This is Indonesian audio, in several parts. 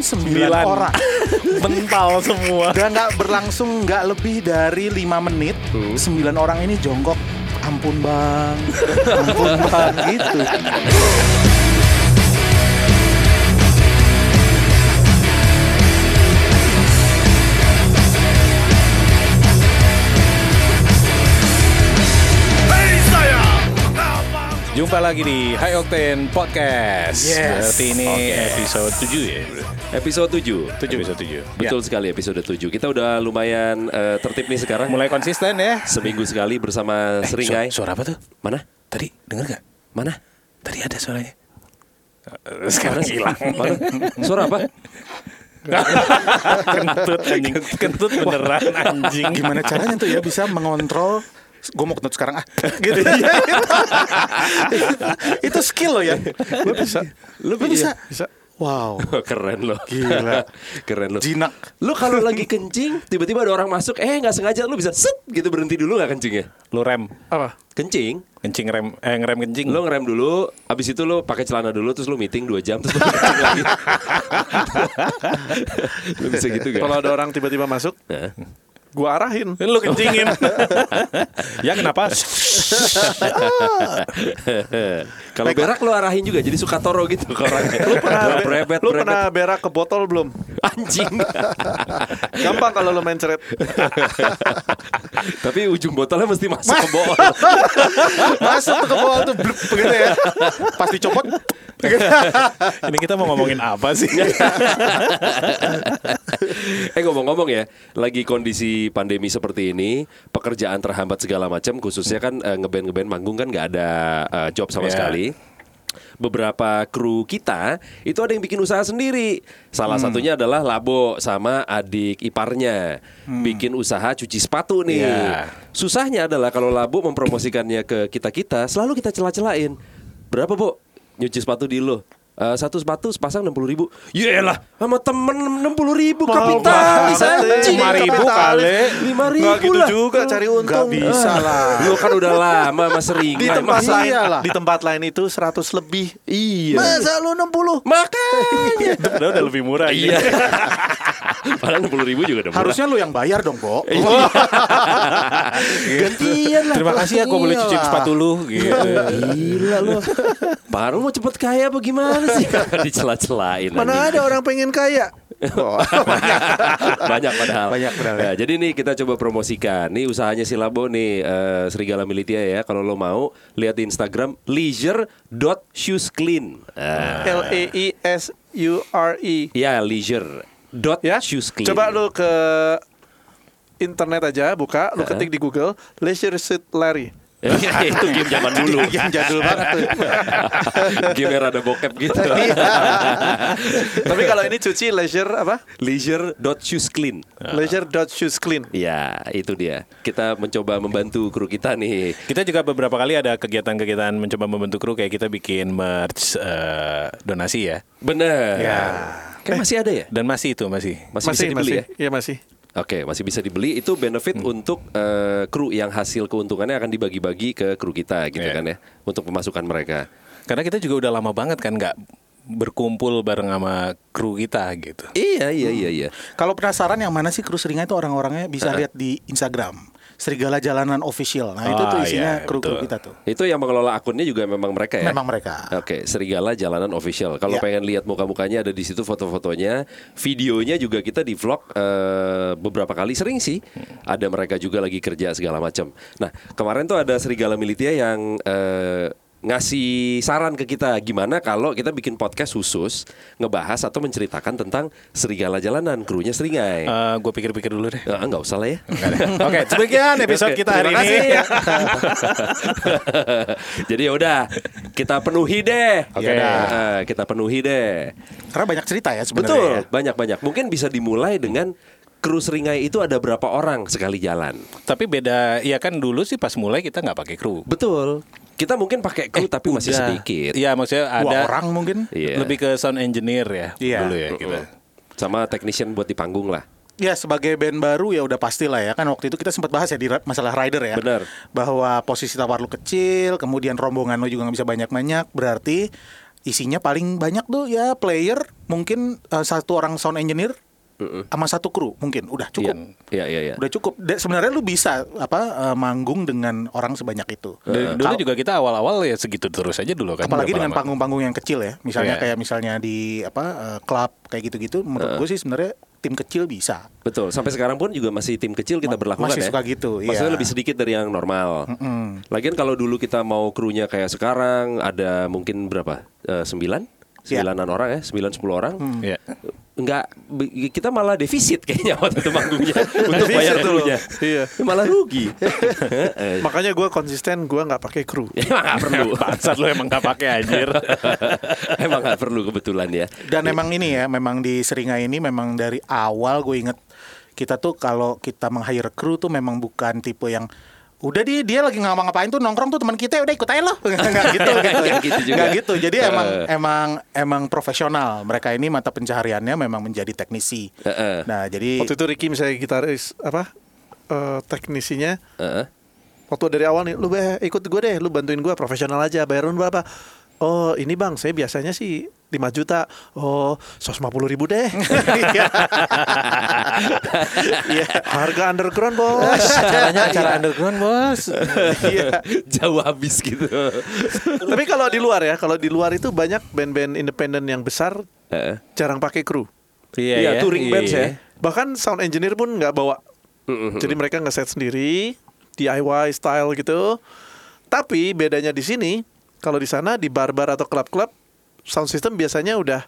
sembilan orang mental semua Dan nggak berlangsung nggak lebih dari lima menit. Sembilan orang ini jongkok. Ampun bang, ampun bang gitu. jumpa lagi di High Octane Podcast Yes. berarti ini Oke. episode 7 ya Episode 7. episode 7 Betul sekali episode 7. Kita udah lumayan eh, tertib nih sekarang. mulai konsisten ya Seminggu sekali bersama Seringai. Su- suara apa tuh Mana? tadi denger gak Mana? tadi ada suaranya Eh, sekarang hilang Mana? Suara apa? kentut anjing kentut beneran anjing Gimana caranya tuh ya bisa mengontrol gue mau kentut sekarang ah gitu ya itu skill lo ya lo bisa lo Iya, bisa, wow Oh, Keren loh. Gila. Keren loh. jinak Lu kalau lagi kencing, tiba-tiba ada orang masuk, eh nggak sengaja lu bisa set gitu berhenti dulu nggak kencingnya? lu rem apa Kencing, kencing rem eh ngerem kencing lu ngerem dulu, abis itu lu pakai celana dulu, terus lu meeting 2 jam, terus lu kencing lagi. lu bisa gitu gak? Kalau ada orang tiba-tiba masuk, Nah. gua arahin. lu kencingin ya kenapa Kalau berak lu arahin juga jadi suka toro gitu ke orangnya. Lu Pernah, berebet, lu berebet. pernah berak ke botol belum? anjing. Gampang kalau lu main ceret. Tapi ujung botolnya mesti masuk ke bol. masuk tuh ke bawah tuh blup, begitu ya pas dicopot ini kita mau ngomongin apa sih eh ngomong-ngomong ya, lagi kondisi pandemi seperti ini, pekerjaan terhambat segala macam, khususnya kan eh, ngeband ngeband manggung kan nggak ada eh, job sama Iya. sekali. Beberapa kru kita itu ada yang bikin usaha sendiri. Salah Hmm. satunya adalah Labo sama adik iparnya bikin usaha cuci sepatu nih. Hmm. Iya. Susahnya adalah kalau Labo mempromosikannya ke kita-kita, selalu kita celah-celahin. Berapa, Bu? Nyuci sepatu di lo? Eh, satu sepatu sepasang 60 ribu Yelah sama temen 60 ribu kapitalis anjing Lima ribu kali. Lima Nggak ribu gitu lah juga cari nggak untung. bisa lah Lu kan udah lama mas Ringan Di tempat Iya lain, lah. di tempat lain itu 100 lebih. Iya masa lu 60 Makanya udah udah lebih murah Iya Padahal 60 ribu juga udah murah. harusnya lu yang bayar dong Bo Gantian lah Terima kasih ya gue boleh cuci Iyalah. sepatu lu gitu. Gila lu Baru mau cepet kaya apa gimana sih Dicela-celain anjing. Mana ada orang pengen kaya? banyak padahal. Banyak padahal, ya. Nah, jadi nih kita coba promosikan. Nih usahanya si Labo nih eh, Serigala Militia ya. Kalau lo mau lihat di Instagram leisure.shoesclean. Eh, L A I S U R E. ya leisure dot Ya. shoes clean. Coba lu ke internet aja buka, lu ketik di Google Leisure Suit Larry. Ya, itu game zaman dulu. yang jadul banget tuh game yang rada bokep gitu. Iya. Tapi kalau ini cuci leisure apa? leisure dot shoes clean. Leisure dot shoes clean. Ya, itu dia. Kita mencoba membantu kru kita nih. Kita juga beberapa kali ada kegiatan-kegiatan mencoba membentuk kru kayak kita bikin merch eh, donasi ya. Bener. Ya. Kayak masih ada ya? Dan masih itu masih. Masih, bisa dibeli ya? Iya masih. Oke, masih bisa dibeli. Itu benefit untuk eh, kru yang hasil keuntungannya akan dibagi-bagi ke kru kita, gitu Iya. kan ya, untuk pemasukan mereka. Karena kita juga udah lama banget kan nggak berkumpul bareng sama kru kita gitu. Iya, iya, iya, iya. kalau penasaran yang mana sih kru seringai itu orang-orangnya bisa lihat di Instagram Serigala Jalanan Official nah itu Ah, tuh isinya iya, kru-kru betul. kita tuh Itu yang mengelola akunnya juga memang mereka ya. Memang mereka. Oke, Serigala Jalanan Official. Kalau Ya. pengen lihat muka-mukanya ada di situ foto-fotonya, videonya juga kita di vlog eh, beberapa kali sering sih. Ada mereka juga lagi kerja segala macam. Nah, kemarin tuh ada Serigala Militia yang eh, ngasih saran ke kita gimana kalau kita bikin podcast khusus ngebahas atau menceritakan tentang Serigala Jalanan, krunya Seringai. Eh gue pikir-pikir dulu deh. Eh, enggak usah lah ya. Oke, demikian episode Oke, kita hari terima ini. kasih. Jadi yaudah kita penuhi deh. Oke. Eh, kita penuhi deh. karena banyak cerita ya sebenarnya Betul, ya. banyak-banyak. Mungkin bisa dimulai dengan kru seringai itu ada berapa orang sekali jalan. Tapi beda, ya kan dulu sih pas mulai kita nggak pakai kru. Nah. Betul. Kita mungkin pakai kru tapi masih Udah. sedikit. Iya, maksudnya dua ada orang mungkin Iya. Uh-uh. lebih ke sound engineer ya Iya. dulu ya kita. Sama technician buat di panggung lah. Ya sebagai band baru ya udah pastilah ya kan waktu itu kita sempat bahas ya di ra- masalah rider ya. Benar. Bahwa posisi tawar lu kecil, kemudian rombongan lu juga nggak bisa banyak-banyak, berarti isinya paling banyak tuh ya player mungkin eh, satu orang sound engineer sama satu kru mungkin udah cukup Iya, iya, iya. udah cukup Dan sebenarnya lu bisa apa eh, manggung dengan orang sebanyak itu Uh-uh. Eh, Dari dulu juga kita awal-awal ya segitu terus aja dulu kan. apalagi berapa dengan lama. panggung-panggung yang kecil ya misalnya Iya. Eh. kayak misalnya di apa eh, klub kayak gitu-gitu menurut gue sih sebenarnya tim kecil bisa Betul. Sampai sekarang pun juga masih tim kecil kita Ma- berlakukan masih ya. suka gitu, iya. Maksudnya lebih sedikit dari yang normal. Lagian kalau dulu kita mau krunya kayak sekarang ada mungkin berapa? Eh, sembilan? Iya. Sembilanan orang ya, sembilan sepuluh orang. Iya. Enggak, bi- kita malah defisit kayaknya waktu itu manggungnya untuk bayar Defisit dulunya. loh. Iya. Malah rugi. Heeh. Makanya gue konsisten, gue nggak pakai kru. emang nggak perlu. Bangsat lu emang gak pakai anjir. emang nggak perlu kebetulan ya. Dan memang ini ya, memang di Seringa ini memang dari awal gue inget kita tuh kalau kita meng-hire kru tuh memang bukan tipe yang udah dia dia lagi ngapa ngapain tuh nongkrong tuh teman kita ya udah ikut aja loh nggak gitu gitu Nggak gitu juga. nggak gitu jadi emang Eh. emang emang profesional mereka ini mata pencahariannya memang menjadi teknisi Eh, eh. nah jadi Waktu itu Ricky misalnya gitaris apa eh, teknisinya Heeh. waktu dari awal nih lu be ikut gue deh lu bantuin gue profesional aja bayaran berapa oh ini bang saya biasanya sih 5 juta oh 150 ribu deh kan Iya. Iya. harga underground bos Caranya cara underground bos. Iya. Jauh habis gitu. tapi kalau di luar ya kalau di luar itu banyak band-band independen yang besar Heeh. jarang pakai kru Iya, Iya, ya. touring bands Iya. ya. bahkan sound engineer pun nggak bawa jadi mereka ngeset sendiri DIY style gitu tapi bedanya di sini kalau di sana di barbar atau klub-klub sound system biasanya udah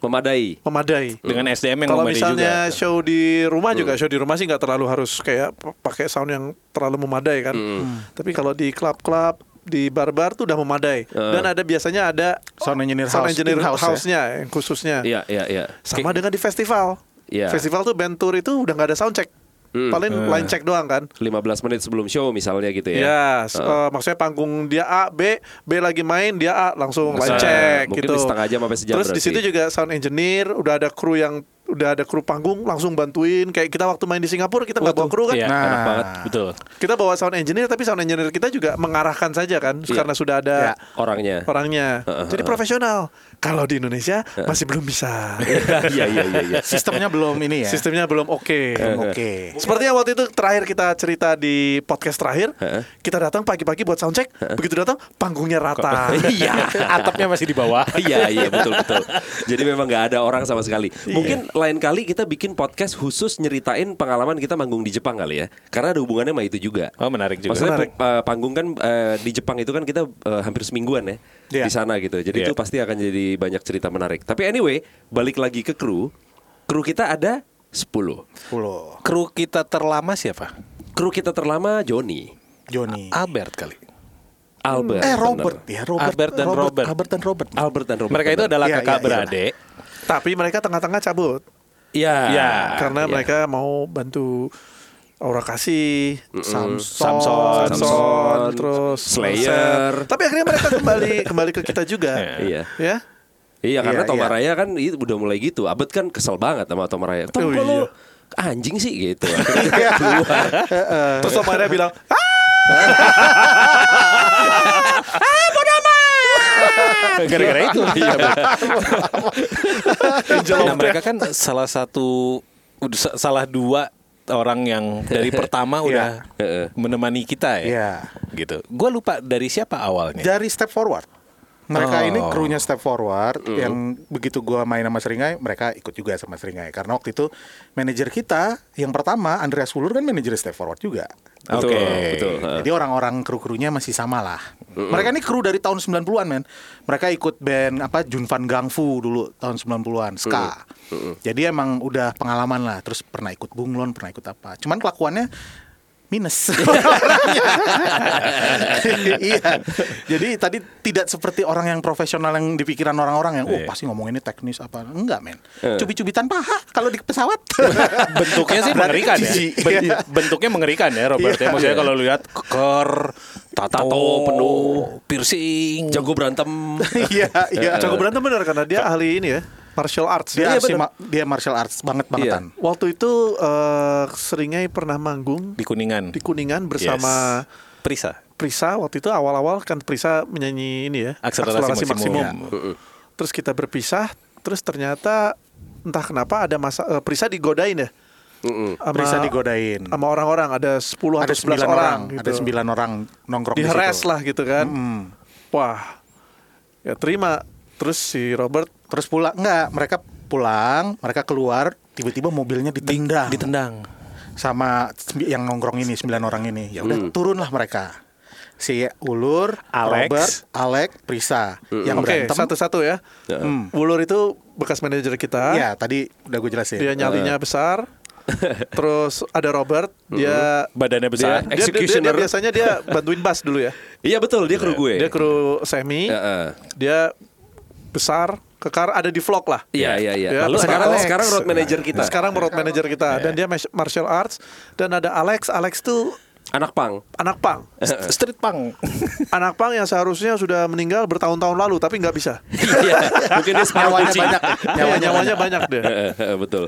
Memadai. memadai Dengan SDM yang kalau Iya, memadai misalnya juga. show di rumah juga show di rumah sih nggak terlalu harus kayak p- pakai sound yang terlalu memadai kan Hmm. tapi kalau di klub-klub di barbar tuh udah memadai dan ada biasanya ada Sound engineer house, engineer in-house ya. house-nya yang khususnya Iya, iya, iya. sama dengan di festival Iya. festival tuh band tour itu udah nggak ada sound check paling Eh. line check doang kan 15 menit sebelum show misalnya gitu ya. Ya, s- oh. eh, maksudnya panggung dia A, B, B lagi main dia A langsung Bisa. line check Mungkin gitu. setengah jam sampai sejam Terus di berarti. situ juga sound engineer, udah ada kru yang udah ada kru panggung langsung bantuin kayak kita waktu main di Singapura kita nggak bawa kru kan. Iya, Nah. enak banget, betul. Kita bawa sound engineer tapi sound engineer kita juga mengarahkan saja kan karena sudah Iya. ada Orangnya. orangnya. Jadi profesional. Kalau di Indonesia masih belum bisa. Iya, iya, iya, iya. sistemnya belum ini ya Sistemnya belum oke. Belum oke Sepertinya waktu itu terakhir kita cerita di podcast terakhir, Heeh. kita datang pagi-pagi buat soundcheck, begitu datang panggungnya rata. Iya. Atapnya masih di bawah. Iya iya betul betul. Jadi memang nggak ada orang sama sekali. Iya. Mungkin lain kali kita bikin podcast khusus nyeritain pengalaman kita manggung di Jepang kali ya. Karena ada hubungannya sama itu juga. Oh, menarik juga. Maksudnya Menarik. eh, panggung kan eh, di Jepang itu kan kita eh, hampir semingguan ya Iya. di sana gitu. Jadi Iya. itu pasti akan jadi banyak cerita menarik. Tapi anyway, balik lagi ke kru. Kru kita ada 10. Pulau Kru kita terlama siapa? Kru kita terlama Joni, Johnny Albert kali. Albert. eh bener. Robert ya Robert Albert dan Robert. Albert dan Robert Albert dan Robert. Mereka itu bener. adalah Iya, kakak iya, iya. beradik. Tapi mereka tengah-tengah cabut Iya. Iya. Ah, karena iya. mereka mau bantu Aura Kasih, Samson, Samson. Samson, Samson, terus Slayer. Marcel. Tapi akhirnya mereka kembali kembali ke kita juga. Iya. Ya. Iya karena Iya, Toma iya. Raya kan itu udah mulai gitu. Abed kan kesel banget sama Toma Raya. Tom Oh, kok lu iya. anjing sih gitu. Akhirnya keluar. Terus Omara bilang, "Ah, Gara-gara itu. Angel of Nah, Death." mereka kan salah satu ud- sa- salah dua orang yang dari pertama udah menemani kita ya. Iya. Gitu. Gua lupa dari siapa awalnya. dari Step Forward. Mereka Oh. ini krunya Step Forward yang begitu gua main sama Seringai, mereka ikut juga sama Seringai karena waktu itu manajer kita yang pertama Andreas Wulur kan manajer Step Forward juga. Betul, betul. Jadi orang-orang kru-krunya masih sama lah. Mereka ini kru dari tahun 90-an, men. Mereka ikut band apa Junfan Gangfu dulu tahun 90-an, ska. Jadi emang udah pengalaman lah, terus pernah ikut bunglon, pernah ikut apa. Cuman kelakuannya minus. iya. Jadi tadi tidak seperti orang yang profesional yang di pikiran orang-orang yang Iya. oh pasti ngomong ini teknis apa. Enggak, men. Cubit-cubitan paha kalau di pesawat. Bentuknya sih mengerikan ya. Jijik. Ben- Iya. Bentuknya mengerikan ya Robert. ya. Maksudnya kalau lu lihat keker, tato, Tato, penuh. piercing, Jago berantem. Iya, iya. Jago berantem bener karena dia ahli ini ya, martial arts. dia Iya, si bener. Iya. ma- dia martial arts banget bangetan. Waktu itu eh, Seringai pernah manggung di Kuningan. di Kuningan bersama Yes. Prisa. Prisa waktu itu awal-awal kan Prisa menyanyi ini ya Akselerasi maksimum. Iya. maksimum. Ya. terus kita berpisah terus ternyata entah kenapa ada masa eh, Prisa digodain ya Mm-mm. Sama- Prisa digodain. sama orang-orang ada 10 ada atau 11 sembilan orang, orang, gitu. ada sembilan orang nongkrong di diheres situ. lah gitu kan Mm. wah ya terima terus si Robert Terus pulang enggak, mereka pulang, mereka keluar, tiba-tiba mobilnya ditendang. ditendang sama sembi- yang nongkrong ini sembilan orang ini. Ya Hmm. udah turunlah mereka. Si Ulur, Alex. Robert, Alex, Prisa yang Hmm. oke berantem. satu-satu ya Hmm. Wulur itu bekas manajer kita Ya, tadi udah gue jelasin. dia nyalinya besar terus ada Robert dia badannya besar dia, dia- dia- Executioner. dia biasanya dia bantuin bass dulu ya Iya betul dia kru gue. dia kru semi Heeh. dia besar kekar ada di vlog lah Iya iya iya. Ya, Lalu terus sekarang Alex. sekarang road manager kita. Iya. sekarang road manager kita dan dia mas- martial arts dan ada Alex Alex tuh anak pang. anak pang street punk anak pang yang seharusnya sudah meninggal bertahun-tahun lalu tapi nggak bisa Iya. Mungkin dia sekarang Nyawanya kunci. banyak. nyawanya, nyawanya banyak deh Heeh, betul.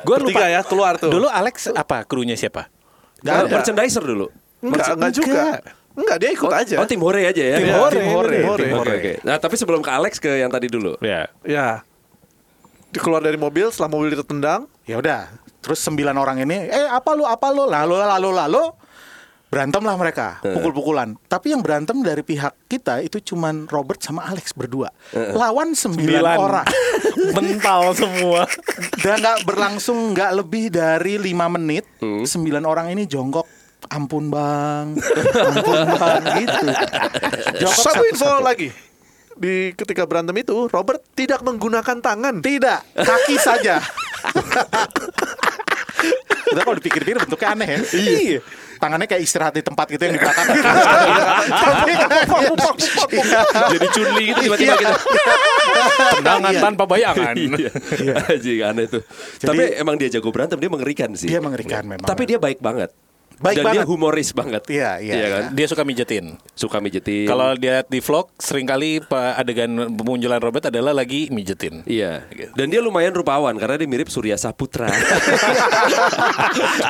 gue lupa Bertiga ya keluar tuh dulu Alex apa krunya siapa Nggak ada. merchandiser dulu. enggak enggak juga enggak dia ikut aja Oh tim Hore aja ya. Tim Iya. Hore, Tim Hore. Tim Oke Hore. oke. Nah tapi sebelum ke Alex ke yang tadi dulu. ya ya Dia keluar dari mobil setelah mobil ditendang Ya udah, terus sembilan orang ini, eh apa lu apa lu lalu lalu lalu berantemlah mereka pukul-pukulan. Tapi yang berantem dari pihak kita itu cuman Robert sama Alex berdua lawan sembilan orang mental semua dan nggak berlangsung nggak lebih dari lima menit sembilan orang ini jongkok ampun bang ampun bang gitu jongkok satu info satu-satu. lagi di ketika berantem itu Robert tidak menggunakan tangan tidak kaki saja Udah kalau dipikir-pikir bentuknya aneh ya Iya Tangannya kayak istirahat di tempat gitu yang dibakar Tapi Pupak, pupak, pupak, pupak. Jadi cunli gitu tiba-tiba kita. Oh, tendangan tanpa bayangan Iya. Anjing, aneh tuh. Tapi emang dia jago berantem dia mengerikan sih. Iya. Dia mengerikan memang. Tapi dia baik banget. Baik Dan dia banget. humoris banget. Iya, iya, kan? dia suka mijetin Suka mijetin. kalau dia lihat di vlog seringkali pa- adegan pemunculan Robert adalah lagi mijetin Iya. Dan dia lumayan rupawan karena dia mirip Surya Saputra.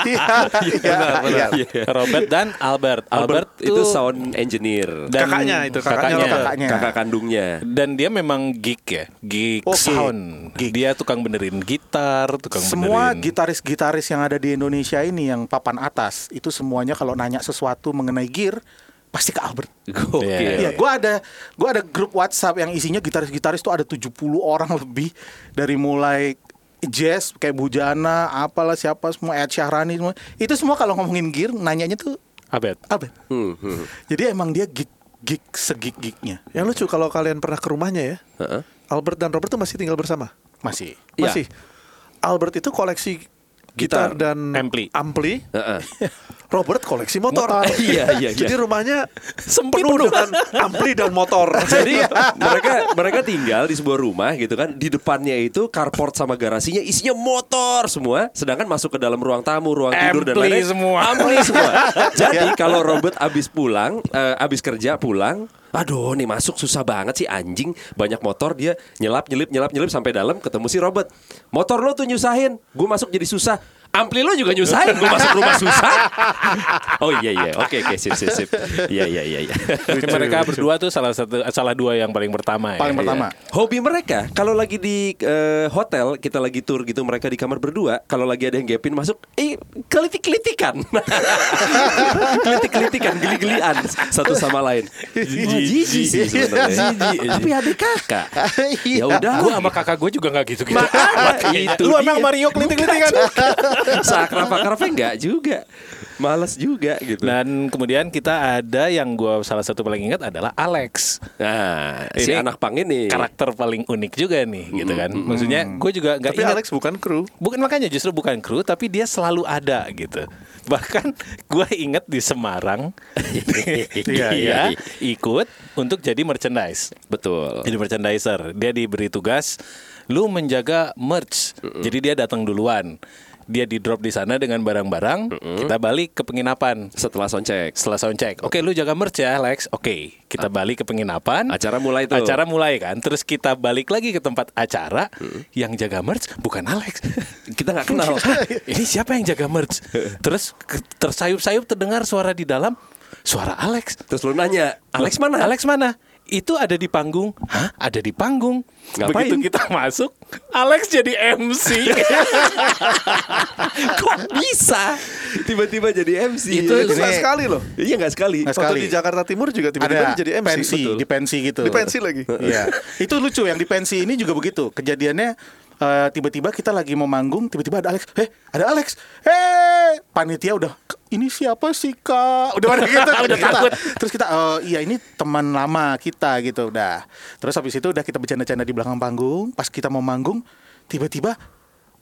Iya Iya iya. Iya. Robert dan Albert Albert, Albert itu tuh sound engineer. dan Kakaknya itu, kakaknya Robert. Kakaknya. Kakak kandungnya. dan dia memang geek ya geek Oh, geek. sound Geek. dia tukang benerin gitar tukang Semua benerin gitaris-gitaris yang ada di Indonesia ini yang papan atas itu semuanya kalau nanya sesuatu mengenai gear pasti ke Albert. Iya. Oke. Iya, gua ada gua ada grup WhatsApp yang isinya gitaris-gitaris tuh ada 70 orang lebih dari mulai jazz kayak Bujana, apalah siapa semua Ed Syahrani semua. Itu semua kalau ngomongin gear nanyanya tuh Albert Albert. Hmm, Jadi emang dia geek geek segik geeknya yang lucu kalau kalian pernah ke rumahnya ya Heeh. Albert dan Robert tuh masih tinggal bersama masih. Iya. masih Albert itu koleksi Gitar. gitar, dan Ampli. ampli Heeh. Robert koleksi motor. Iya, iya, iya. Jadi rumahnya Sempit penuh dengan ampli dan motor. Jadi Iya. mereka mereka tinggal di sebuah rumah gitu kan. Di depannya itu carport sama garasinya isinya motor semua, sedangkan masuk ke dalam ruang tamu, ruang tidur dan Ampli lain-lain semua. Iya. Ampli semua. Jadi kalau Robert abis pulang, eh, abis kerja pulang, aduh nih masuk susah banget sih anjing, banyak motor dia nyelap nyelip nyelap nyelip sampai dalam ketemu si Robert. Motor lo tuh nyusahin, gue masuk jadi susah. Ampli lo juga nyusahin, gue masuk rumah susah. Oh iya iya, oke oke sip sip sip. Iya iya iya. iya. Tapi mereka berdua tuh salah satu salah dua yang paling pertama Paling ya. pertama. Iya. Hobi mereka kalau lagi di eh, hotel kita lagi tour gitu mereka di kamar berdua kalau lagi ada yang gapin masuk eh kelitik-kelitikan. Kelitik-kelitikan, geli-gelian satu sama lain. Wah, Jijik sih sebenarnya. Tapi adik kakak. Ya udah. Gue sama kakak gue juga gak gitu-gitu Makanya itu Lu emang dia. Mario kelitik-kelitikan Sakrapa-krapa enggak juga. Males juga gitu. Dan kemudian kita ada yang gue salah satu paling ingat adalah Alex Nah, si Ini anak pang ini Karakter paling unik juga nih gitu kan Maksudnya gue juga gak Tapi ingat Alex bukan kru. Bukan makanya justru bukan kru tapi dia selalu ada gitu. Bahkan gua inget di Semarang Iya, iya. dia ikut untuk jadi merchandise. betul. Jadi merchandiser. Dia diberi tugas lu menjaga merch. Jadi dia datang duluan. Dia di drop di sana dengan barang-barang, kita balik ke penginapan Setelah soundcheck setelah sound check. Oke, lu jaga merch ya, Lex. Oke, kita balik ke penginapan. Ah. Acara mulai tuh. Acara mulai kan. Terus kita balik lagi ke tempat acara. Yang jaga merch bukan Alex. kita nggak kenal. Ini siapa yang jaga merch? Terus ke- tersayup-sayup terdengar suara di dalam suara Alex. Terus lu nanya, Alex mana? Alex mana? itu ada di panggung. Hah? Ada di panggung. Ngapain? Begitu kita masuk, Alex jadi MC. Kok bisa? Tiba-tiba jadi MC. Itu Itu nggak Ini- sekali loh. Iya nggak sekali. Nggak Waktu sekali. di Jakarta Timur juga tiba-tiba ada dia jadi MC. pensi, Betul. di pensi gitu. Di pensi lagi. Iya. itu lucu yang di pensi ini juga begitu. Kejadiannya eh, tiba-tiba kita lagi mau manggung, tiba-tiba ada Alex. Eh, ada Alex. Eh, panitia udah ini siapa sih kak? Udah pada gitu, udah takut. Terus kita, "Eh, iya ini teman lama kita gitu udah. Terus habis itu udah kita bercanda-canda di belakang panggung. Pas kita mau manggung, tiba-tiba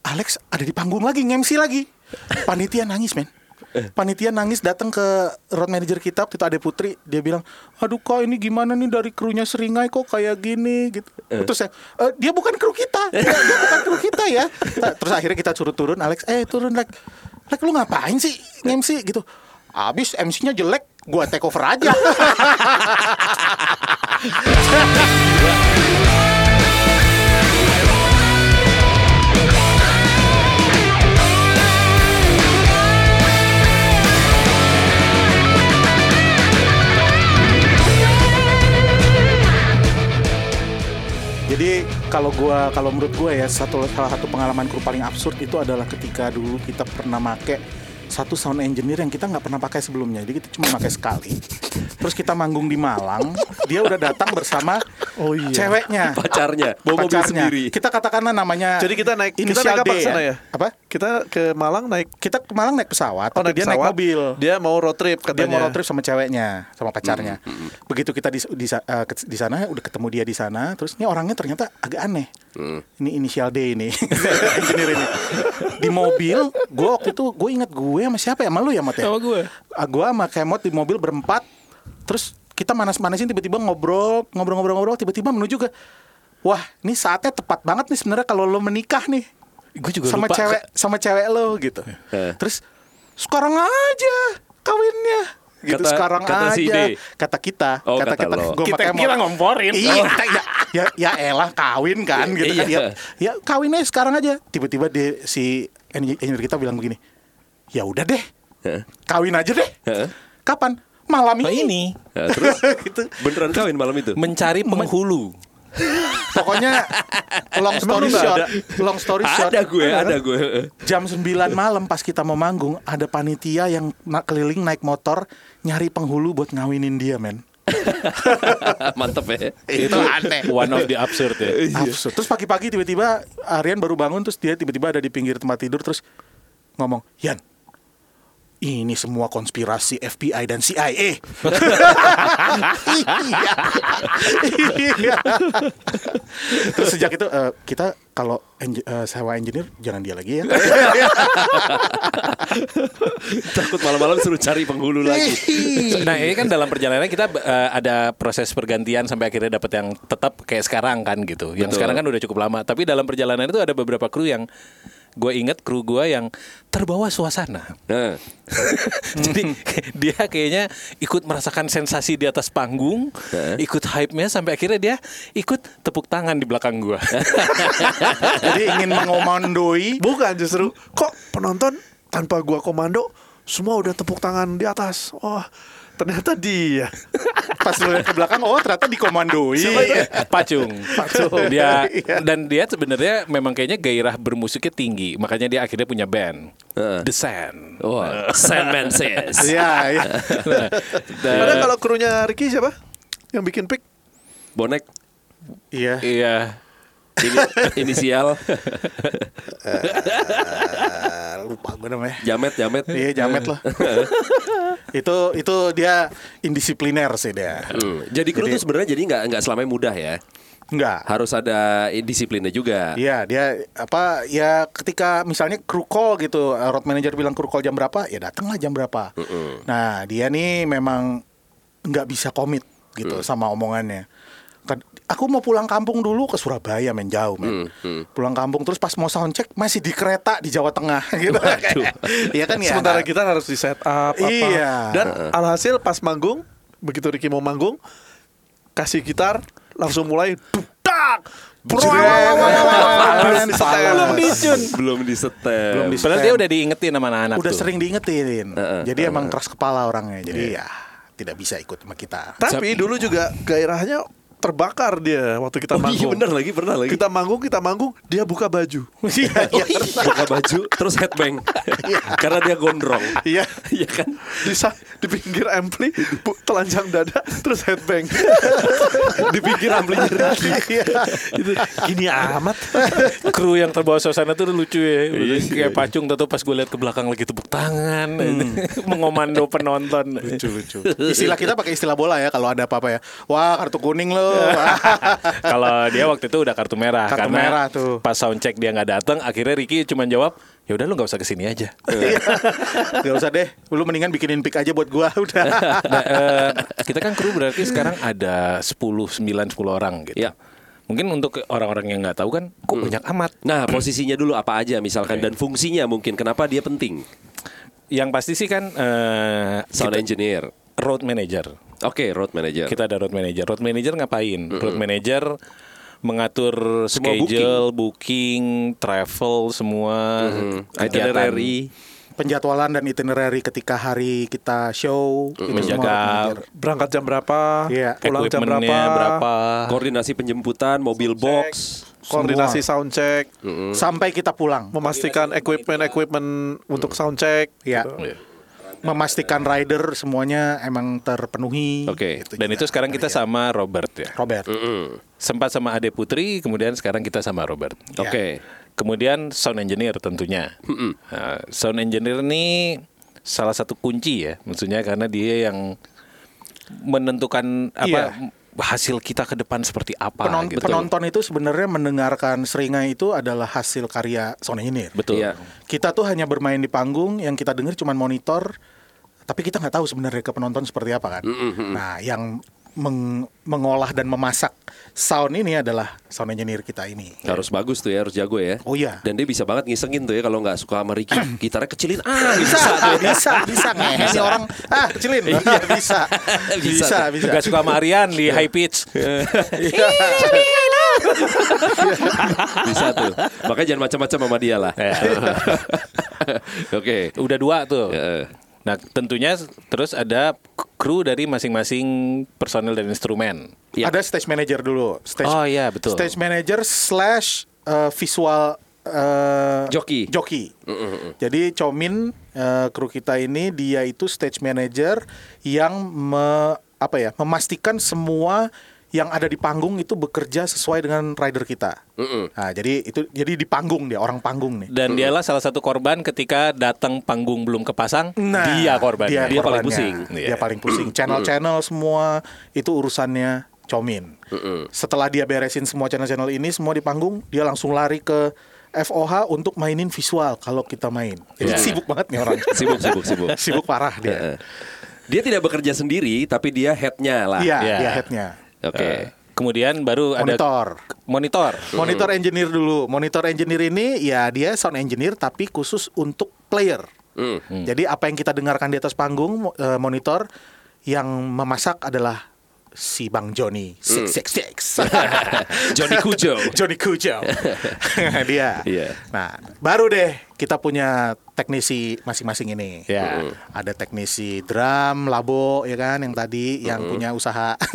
Alex ada di panggung lagi, ngemsi lagi. Panitia nangis men. Panitia nangis datang ke road manager kita waktu itu ada Putri dia bilang aduh kak ini gimana nih dari krunya Seringai kok kayak gini gitu terus saya "Eh, dia bukan kru kita dia, dia bukan kru kita ya Nah, terus akhirnya kita suruh turun Alex eh turun Lek Lek lu ngapain sih MC gitu abis MC-nya jelek gua take over aja Jadi kalau gua kalau menurut gua ya satu salah satu pengalaman kru paling absurd itu adalah ketika dulu kita pernah make satu sound engineer yang kita nggak pernah pakai sebelumnya. Jadi kita cuma pakai sekali. Terus kita manggung di Malang, dia udah datang bersama Oh iya. ceweknya, Pacarnya, bawa mobil pacarnya. sendiri. Kita katakanlah namanya Jadi kita naik- kita inisial naik D apa ke sana ya? Apa? Kita ke Malang naik Kita ke Malang naik pesawat, Oh, tapi dia naik pesawat. mobil. Dia mau road trip Dia katanya. mau road trip sama ceweknya, sama pacarnya. Begitu kita di di, sa- eh, ke- di sana, udah ketemu dia di sana, terus ini orangnya ternyata agak aneh. Ini inisial D ini, engineer ini. Di mobil, gue waktu itu gue ingat gue sama siapa ya, sama lu ya Mot ya? Sama gue. Ah, gue sama Kemot di mobil berempat, terus kita manas-manasin tiba-tiba ngobrol, ngobrol-ngobrol-ngobrol, tiba-tiba menuju ke Wah, ini saatnya tepat banget nih sebenarnya kalau lo menikah nih Gue juga sama lupa. cewek sama cewek lo gitu. Eh. Terus sekarang aja kawinnya gitu Kata- sekarang kata aja si Ide. kata kita Oh, kata, kata kita lo. Gua Kita pakai kira mau- ngomporin. Oh. iya kita- ya, ya ya elah kawin kan gitu kan Iya. ya, ya kawin aja sekarang aja tiba-tiba dia si engi- engineer kita bilang begini ya udah deh Heeh. kawin aja deh Heeh. kapan malam Nah, ini ini Nah, terus gitu beneran kawin malam itu? mencari penghulu. pokoknya long story lu nggak short ada? long story short Ada kan? gue, ada gue. Jam 9 malam pas kita mau manggung ada panitia yang na- keliling naik motor nyari penghulu buat ngawinin dia, men. Mantep ya. Itu aneh. Iya. One of the absurd ya. Absurd. Terus pagi-pagi tiba-tiba Aryan baru bangun terus dia tiba-tiba ada di pinggir tempat tidur terus ngomong, "Yan, ini semua konspirasi FBI dan CIA. Iya. Iya. Terus sejak itu eh, kita kalau enj- eh, sewa engineer jangan dia lagi ya. Takut malam-malam suruh cari penghulu lagi. Nah ini kan dalam perjalanan kita eh, ada proses pergantian sampai akhirnya dapat yang tetap kayak sekarang kan gitu. Yang Betul. sekarang kan udah cukup lama. Tapi dalam perjalanan itu ada beberapa kru yang gue inget kru gue yang terbawa suasana. Nah, Jadi dia kayaknya ikut merasakan sensasi di atas panggung, Heeh. ikut hype-nya sampai akhirnya dia ikut tepuk tangan di belakang gua. Jadi ingin mengomandoi Bukan justru kok penonton tanpa gua komando semua udah tepuk tangan di atas. Wah, ternyata dia. pas lu lihat ke belakang oh ternyata dikomandoi. Pacung. Pacung. Dia Iya. dan dia sebenarnya memang kayaknya gairah bermusiknya tinggi, makanya dia akhirnya punya band. Heeh. The Sand. wah, Oh, Sandman says. Iya, iya. Nah, the- Padahal kalau krunya Ricky siapa? Yang bikin pick? Bonek Iya. Iya. ini inisial Ah, lupa gue namanya. Jamet Jamet. Iya, jamet lah. itu itu dia indisipliner sih dia. Hmm. Jadi kru tuh sebenarnya jadi nggak nggak selamanya mudah ya. Enggak. Harus ada eh, disiplinnya juga. Iya, dia apa ya ketika misalnya crew call gitu, eh, road manager bilang crew call jam berapa, ya datanglah jam berapa. Nah, dia nih memang nggak bisa komit gitu sama omongannya. Kad- Aku mau pulang kampung dulu ke Surabaya men jauh men. Pulang kampung terus pas mau soundcheck masih di kereta di Jawa Tengah gitu. Iya kan ya. Sementara kita harus di set up apa. Iya. Dan alhasil pas manggung, begitu Ricky mau manggung, kasih gitar langsung mulai dudak. Bro, Belum Belum di- Dicun. Iya. Belum disetel. Belum di- Padahal dia udah diingetin sama anak-anak udah tuh. sering diingetin. Heeh, Jadi emang keras kepala orangnya. Jadi ya tidak bisa ikut sama kita. Tapi dulu juga gairahnya terbakar dia waktu kita Oh, iya manggung. bener lagi, pernah lagi. Kita manggung, kita manggung, dia buka baju. Iya, iya. buka baju terus headbang karena dia gondrong Iya. iya kan Di, sa- di pinggir ampli, bu- telanjang dada, terus headbang. di pinggir amplinya Ricky Itu gini amat. kru yang terbawa suasana tuh lucu ya kayak pacung tuh pas gue lihat ke belakang lagi tepuk tangan mengomando penonton lucu lucu. Gitu. Istilah kita pakai istilah bola ya kalau ada apa-apa ya. Wah kartu kuning lo. kalau dia waktu itu udah kartu merah Kartu karena merah tuh. pas sound check dia nggak datang akhirnya Ricky cuma jawab ya udah lu nggak usah kesini aja Gak Iya. usah deh. Lu mendingan bikinin pick aja buat gua udah. Nah, eh, kita kan kru berarti sekarang ada 10 9 10 orang gitu Iya. mungkin untuk orang-orang yang nggak tahu kan kok banyak amat nah posisinya dulu apa aja misalkan dan fungsinya mungkin kenapa dia penting yang pasti sih kan eh, sound engineer Iya. road manager oke road manager kita ada road manager. Road manager ngapain? Road manager mengatur Semua schedule, booking. travel, semua Hmm. kegiatan. itinerary Penjadwalan dan itinerary ketika hari kita show itu semua Menjaga manajer. Berangkat jam berapa, Iya. pulang jam berapa, equipmentnya berapa? Ah. koordinasi penjemputan mobil box koordinasi sound check, Mm. sampai kita pulang. memastikan equipment-equipment untuk sound check. Ya. Iya. Memastikan rider semuanya emang terpenuhi. Oke. Gitu Dan juga. itu sekarang kita sama Robert ya. Robert. Sempat sama Ade Putri, kemudian sekarang kita sama Robert. Iya. oke Kemudian sound engineer tentunya. Nah, sound engineer ini salah satu kunci ya, maksudnya karena dia yang menentukan apa hasil kita ke depan seperti apa Iya. Penon- gitu. Penonton itu sebenarnya mendengarkan seringai itu adalah hasil karya sound engineer. Betul. Iya. Kita tuh hanya bermain di panggung, yang kita dengar cuman monitor, tapi kita nggak tahu sebenarnya ke penonton seperti apa kan. Nah, yang meng- mengolah dan memasak sound ini adalah sound engineer kita ini. Harus bagus tuh ya, harus jago ya. Oh iya. Dan dia bisa banget ngisengin tuh ya kalau nggak suka sama Ricky, gitarnya kecilin ah gitu. Bisa, bisa, bisa, ngehe nih orang. Ah, kecilin. bisa. Bisa, bisa. Iya. Gak suka sama Aryan di high pitch. Bisa tuh. Makanya jangan macam-macam sama dia lah. Iya. Oke. Udah dua tuh. Heeh. Nah tentunya s- terus ada k- kru dari masing-masing personel dan instrumen. Iya. Ada stage manager dulu. Stage, Oh, iya, betul. Stage manager slash eh, visual eh, Joki. Joki. Mm, Jadi Comin eh, kru kita ini dia itu stage manager yang me- apa ya memastikan semua yang ada di panggung itu bekerja sesuai dengan rider kita. Mm, Nah, jadi itu jadi di panggung dia orang panggung nih. Dan dialah salah satu korban ketika datang panggung belum kepasang, dia Nah, Dia, korbannya. Dia korbannya. paling pusing. Iya. Dia paling pusing. Channel-channel semua itu urusannya Comin. Setelah dia beresin semua channel-channel ini semua di panggung, dia langsung lari ke FOH untuk mainin visual kalau kita main. Jadi Iya. Eh, sibuk banget nih orang. Sibuk sibuk sibuk. sibuk parah dia. Heeh. Dia tidak bekerja sendiri tapi dia headnya lah. Iya, Iya. dia headnya. Oke. Eh, Kemudian baru ada Monitor. monitor. Monitor engineer dulu. Monitor engineer ini ya dia sound engineer tapi khusus untuk player. Hmm. Jadi apa yang kita dengarkan di atas panggung mo- eh, monitor yang memasak adalah si Bang Joni. Six six six. Johnny Cujo. Joni Kujo. dia. Iya. Nah, baru deh kita punya teknisi masing-masing ini. Iya. Hmm. Ya. Ada teknisi drum, labo ya kan yang tadi yang punya usaha.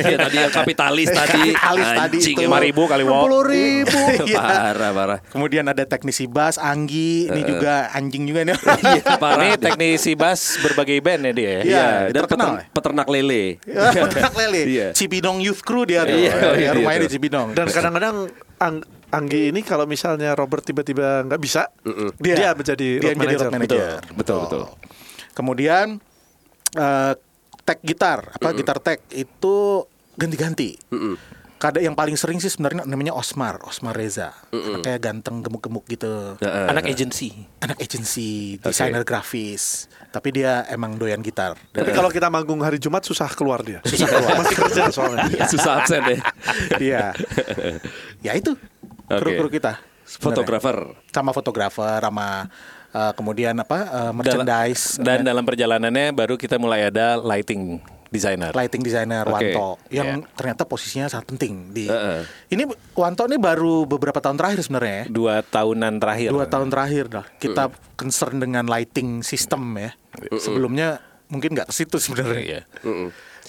Iya, tadi yang kapitalis tadi. Kapitalis Eh, tadi Anjing, itu. emang ribut. 60.000. Iya. Parah parah. Kemudian ada teknisi bass Anggi, ini juga anjing juga nih. Iya. Parah. Ini teknisi bass berbagai band ya dia. Iya. Iya, dan terkenal peternak, peternak lele. Petak lele. Iya. Cibinong Youth Crew dia tuh. Iya, Ya, iya, rumahnya iya. di Cibinong. Dan kadang-kadang Ang- Anggi ini kalau misalnya Robert tiba-tiba nggak bisa, dia, menjadi dia menjadi road road manager. manager. Betul, betul, betul. Kemudian eh tag gitar, apa gitar tag itu ganti-ganti. Kadang yang paling sering sih sebenarnya namanya Osmar, Osmar Reza. Kayak ganteng gemuk-gemuk gitu. Iya. Anak agency. Anak agensi, desainer grafis. Tapi dia emang doyan gitar. Tapi kalau kita manggung hari Jumat susah keluar dia. Susah keluar. Masih kerja soalnya. Susah absen deh. Iya. ya itu. Kru-kru kita. sebenarnya. Fotografer. Sama fotografer, sama eh, kemudian apa eh, merchandise, Dan dalam perjalanannya baru kita mulai ada lighting designer. lighting designer Oke. Wanto yang ternyata posisinya sangat penting di. Ini Wanto ini baru beberapa tahun terakhir sebenarnya ya. Dua tahunan terakhir. Dua tahun terakhir dah kita concern dengan lighting system ya. Sebelumnya mungkin nggak ke situ sebenarnya. Iya.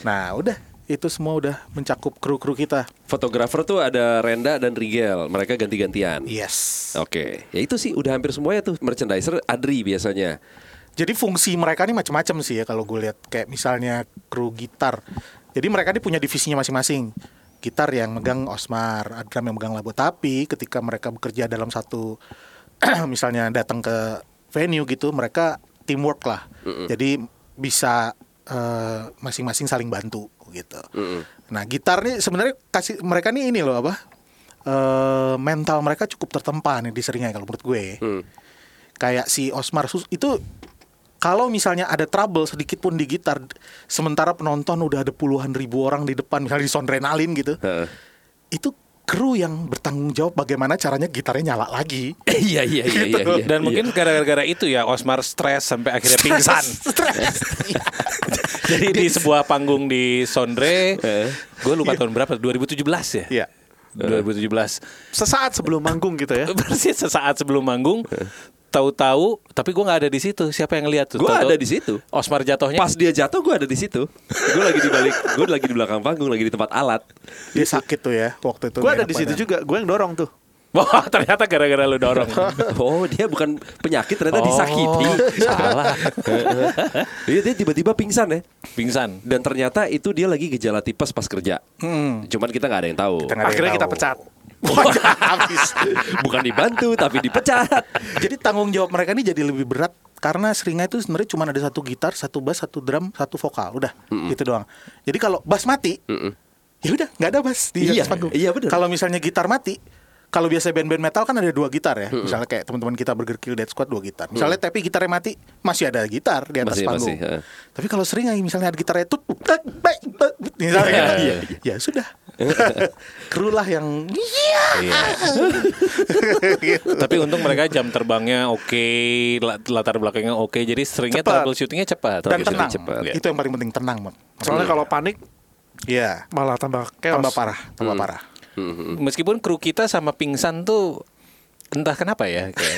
Nah, udah itu semua udah mencakup kru-kru kita. Fotografer tuh ada Renda dan Rigel, mereka ganti-gantian. Iya. Yes. Oke, ya itu sih udah hampir semuanya tuh merchandiser Adri biasanya. Jadi fungsi mereka nih macam-macam sih ya kalau gue lihat kayak misalnya kru gitar. Jadi mereka nih punya divisinya masing-masing. Gitar yang megang Osmar, drum yang megang Labo. Tapi ketika mereka bekerja dalam satu misalnya datang ke venue gitu, mereka teamwork lah. Jadi bisa eh, masing-masing saling bantu gitu. Nah, gitar nih sebenarnya kasih mereka nih ini loh apa? eh mental mereka cukup tertempa nih di seringnya kalau menurut gue Hmm. kayak si Osmar Sus itu kalau misalnya ada trouble sedikit pun di gitar sementara penonton udah ada puluhan ribu orang di depan misalnya di Sondrenalin gitu Heeh. itu kru yang bertanggung jawab bagaimana caranya gitarnya nyala lagi Iya iya iya iya. Gitu. iya. Dan mungkin gara-gara itu ya Osmar stres sampai akhirnya pingsan. Stres. Jadi di sebuah panggung di Sondre, gue lupa tahun berapa, 2017 ya? Iya. 2017. Sesaat sebelum manggung gitu ya. Persis sesaat sebelum manggung, tahu-tahu, tapi gue nggak ada di situ. Siapa yang lihat tuh? Gua Tahu-tahu ada di situ. Osmar jatuhnya. Pas dia jatuh gue ada di situ. Gue lagi di balik, gue lagi di belakang panggung, lagi di tempat alat. dia sakit tuh ya waktu itu Gue ada di situ juga, gue yang dorong tuh. Wah ternyata gara-gara lu dorong. Oh dia bukan penyakit ternyata Oh, disakiti. Salah. Iya dia tiba-tiba pingsan ya. Pingsan. Dan ternyata itu dia lagi gejala tipes pas kerja. Hmm. Cuman kita nggak ada yang tahu. Akhirnya kita pecat. habis Bukan dibantu tapi dipecat. Jadi tanggung jawab mereka ini jadi lebih berat karena seringnya itu sebenarnya cuma ada satu gitar, satu bass, satu drum, satu vokal, udah gitu doang. Jadi kalau bass mati, ya udah nggak ada bass di Iya, atas panggung. iya bener. Kalau misalnya gitar mati, kalau biasa band-band metal kan ada dua gitar ya. Misalnya kayak teman-teman kita Burger Kill Dead Squad dua gitar. Misalnya tapi gitarnya mati, masih ada gitar di atas Masih, panggung. masih, heeh. Tapi kalau seringai misalnya ada gitarnya tut tut, tek, bek, tut, misalnya Iya, gitu. ya iya, sudah. Krulah yang Gitu. iya. Tapi untung mereka jam terbangnya oke, la- latar belakangnya oke, jadi seringnya Cepat. troubleshootingnya cepat. dan Gitu. tenang. cepat. Iya. Itu yang paling penting tenang, Bang. Soalnya kalau panik Iya. malah tambah chaos. Tambah parah, tambah Hmm. parah. Meskipun kru kita sama pingsan tuh entah kenapa ya kayak,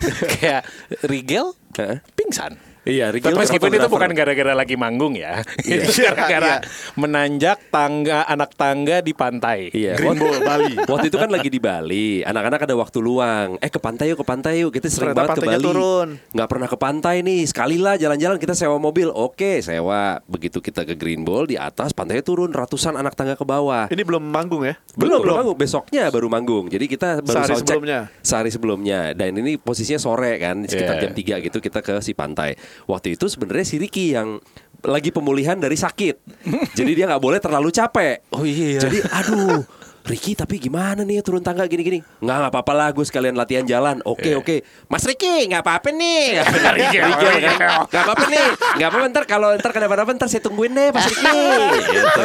kayak Rigel Heeh. pingsan. Iya, Rigel Tapi meskipun itu fotografer. bukan gara-gara lagi manggung ya, Itu Iya, iya. gara-gara menanjak tangga anak tangga di pantai. Iya. Green waktu- Ball, Bali. Waktu itu kan lagi di Bali, anak-anak ada waktu luang. Eh ke pantai yuk, ke pantai yuk. Kita sering banget Ternyata ke pantainya Bali. turun. Nggak pernah ke pantai nih. Sekali lah jalan-jalan kita sewa mobil. Oke, sewa. Begitu kita ke Green Ball di atas pantainya turun ratusan anak tangga ke bawah. Ini belum manggung ya? Belum, belum manggung. Besoknya baru manggung. Jadi kita baru Sehari soundcheck sebelumnya. Sehari sebelumnya. Dan ini posisinya sore kan, sekitar Iya. jam 3 gitu kita ke si pantai. Waktu itu sebenarnya si Ricky yang lagi pemulihan dari sakit. Jadi dia nggak boleh terlalu capek. Oh iya. Jadi aduh. Ricky tapi gimana nih turun tangga gini-gini Nggak, nggak apa-apa lah gue sekalian latihan jalan Oke Iya. oke Mas Ricky nggak apa-apa nih Ricky Nggak apa-apa nih Nggak apa-apa ntar Kalau ntar kenapa-napa ntar saya tungguin deh Mas Ricky gitu.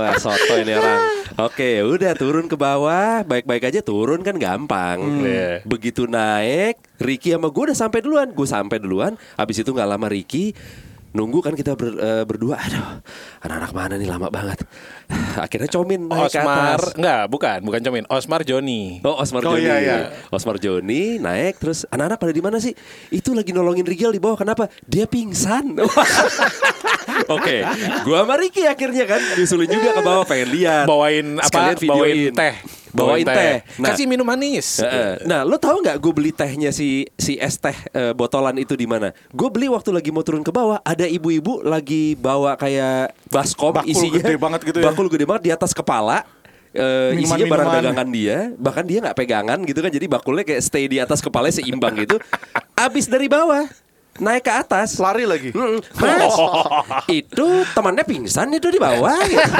Wah soto ini orang Oke udah turun ke bawah Baik-baik aja turun kan gampang Iya. Begitu naik Ricky sama gue udah sampai duluan Gue sampai duluan Habis itu nggak lama Ricky Nunggu kan kita ber- eh, berdua Aduh anak-anak mana nih lama banget Akhirnya comin naik ke Osmar, atas. enggak, bukan, bukan Comin. Osmar Joni. Oh Osmar Oh, Joni iya, iya. Osmar Joni naik terus anak-anak pada di mana sih? Itu lagi nolongin Rigel di bawah kenapa? Dia pingsan. Oke, gua sama Ricky akhirnya kan nyusulin juga ke bawah pengen lihat. Bawain apa? Sekalian videoin. Bawain teh. Bawain teh. Nah, Kasih minum manis. eh, Iya. eh. Nah, lo tahu nggak gue beli tehnya si si es teh eh, botolan itu di mana? Gue beli waktu lagi mau turun ke bawah, ada ibu-ibu lagi bawa kayak baskom Bakul isinya gede banget gitu ya. Bakul gede banget di atas kepala. eh, isinya Minuman-minuman. barang dagangan dia, bahkan dia nggak pegangan gitu kan, jadi bakulnya kayak stay di atas kepala seimbang gitu. Abis dari bawah naik ke atas, Lari lagi. Mm-mm. Mas, itu temannya pingsan itu di bawah. gitu.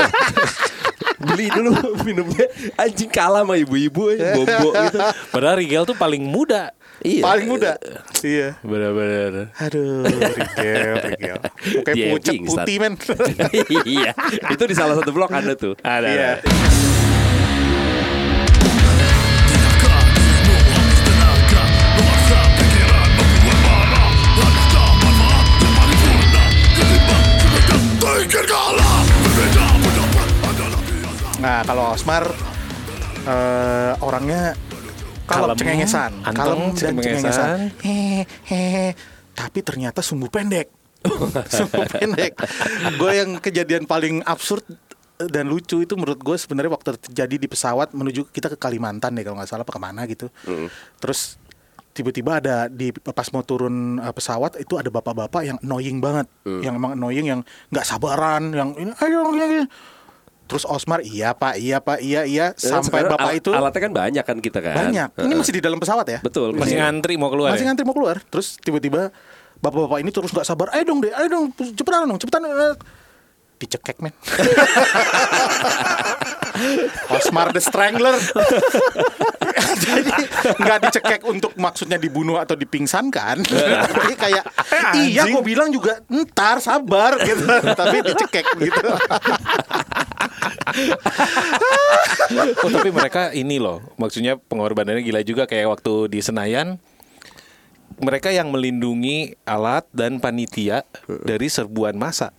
Beli dulu minumnya anjing kalah sama ibu-ibu aja, bobo gitu. Padahal Rigel tuh paling muda. Iya. Paling muda. Iya. Bener-bener. Aduh, Rigel, Rigel. Mukanya Dia pucat pingsan. putih men. iya. Itu di salah satu blok ada tuh. Ada. Iya. ada. Nah, kalau Osmar eh, orangnya kalau Kalem, cengengesan, anteng, kalem dan cengengesan. cengengesan. Hehehe. Tapi ternyata sumbu pendek. Semua pendek. Gue yang kejadian paling absurd eh, dan lucu itu menurut gue sebenarnya waktu terjadi di pesawat menuju kita ke Kalimantan deh kalau nggak salah apa kemana gitu. Terus tiba-tiba ada di pas mau turun uh, pesawat itu ada bapak-bapak yang annoying banget, Mm. yang emang annoying yang nggak sabaran, yang ini ayo gini, gini." Terus Osmar iya pak iya pak iya iya sampai Eh, Sekarang bapak al- itu alatnya kan banyak kan kita kan. banyak. Ini Heeh. masih di dalam pesawat ya? Betul. Masih Iya. ngantri mau keluar. Masih ya? ngantri mau keluar. Terus tiba-tiba bapak-bapak ini terus nggak sabar. Ayo dong deh, ayo dong, cepetan dong, cepetan. eh." Dicekek men. Osmar the Strangler. Jadi nggak dicekek untuk maksudnya dibunuh atau dipingsankan. Tapi kayak iya gue bilang juga ntar sabar gitu. Tapi dicekek gitu. Oh, tapi mereka ini loh, maksudnya pengorbanannya gila juga kayak waktu di Senayan. Mereka yang melindungi alat dan panitia dari serbuan massa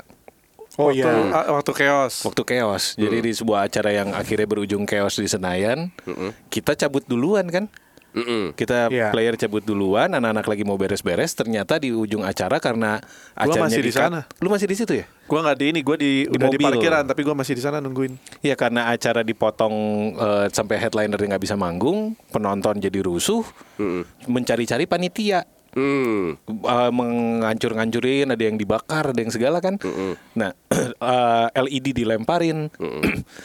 Oh waktu, a- Hmm. Ah, waktu chaos. waktu keos. Jadi di sebuah acara yang akhirnya berujung keos di Senayan, kita cabut duluan kan? Kita Iya. player cabut duluan, anak-anak lagi mau beres-beres. Ternyata di ujung acara karena acaranya masih di di-cut. sana. Lu masih di situ ya? Gua nggak di ini, gua di, Di udah di mobil. parkiran tapi gua masih di sana nungguin. Ya karena acara dipotong eh, sampai headliner nggak bisa manggung, penonton jadi rusuh, mencari-cari panitia, Hmm. Eh, menghancur-hancurin, ada yang dibakar, ada yang segala kan. Nah eh, LED dilemparin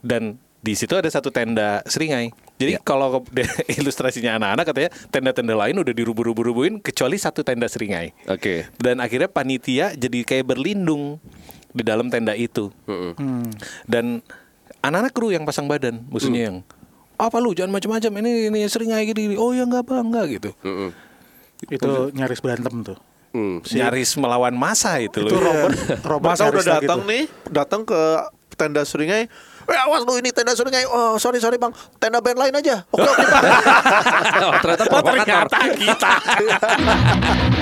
dan di situ ada satu tenda seringai. Jadi kalau ke- ilustrasinya anak-anak katanya tenda-tenda lain udah dirubuh-rubuh-rubuhin kecuali satu tenda seringai Oke. dan akhirnya panitia jadi kayak berlindung di dalam tenda itu dan anak-anak kru yang pasang badan maksudnya yang apa lu jangan macam-macam ini ini sering kayak gini gini." oh ya nggak bang nggak gitu Itu nyaris berantem tuh. Hmm. nyaris melawan masa itu, Itu loh Robert, Robert Masa udah nyaris lagi datang tuh. nih, datang ke tenda seringai. Eh awas lu ini tenda seringai. Oh sorry sorry bang, tenda band lain aja. Oke oke. oh, ternyata provokator. kita